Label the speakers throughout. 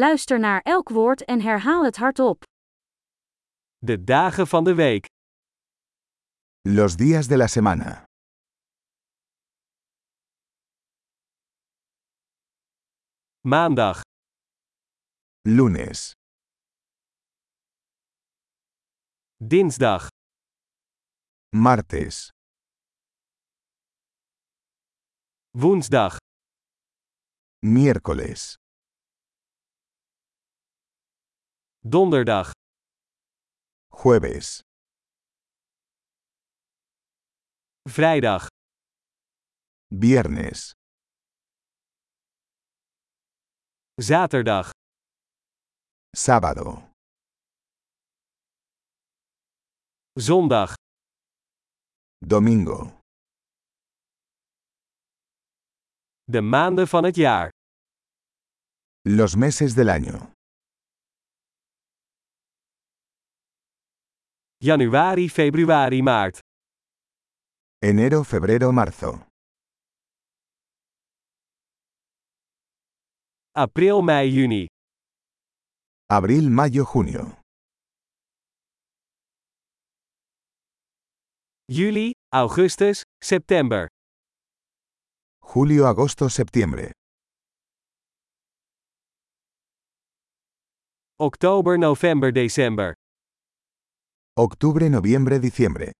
Speaker 1: Luister naar elk woord en herhaal het hardop.
Speaker 2: De dagen van de week.
Speaker 3: Los días de la semana.
Speaker 2: Maandag,
Speaker 3: Lunes,
Speaker 2: dinsdag,
Speaker 3: martes,
Speaker 2: woensdag,
Speaker 3: miércoles,
Speaker 2: donderdag,
Speaker 3: jueves,
Speaker 2: vrijdag,
Speaker 3: viernes,
Speaker 2: zaterdag,
Speaker 3: sábado,
Speaker 2: zondag,
Speaker 3: domingo.
Speaker 2: de maanden van het jaar.
Speaker 3: Los meses del año.
Speaker 2: Januari, februari, maart.
Speaker 3: Enero, febrero, marzo.
Speaker 2: April, mei, juni.
Speaker 3: Abril, mayo, junio.
Speaker 2: Juli, augustus, september.
Speaker 3: Julio, agosto, septiembre.
Speaker 2: Oktober, november, december.
Speaker 3: Octubre, noviembre, diciembre.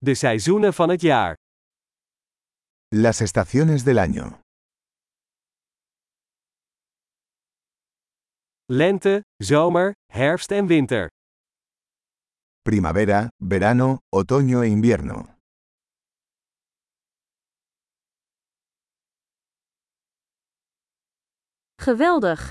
Speaker 2: De seizoenen van het jaar.
Speaker 3: Las estaciones del año.
Speaker 2: Lente, zomer, herfst en winter.
Speaker 3: Primavera, verano, otoño e invierno.
Speaker 1: Geweldig!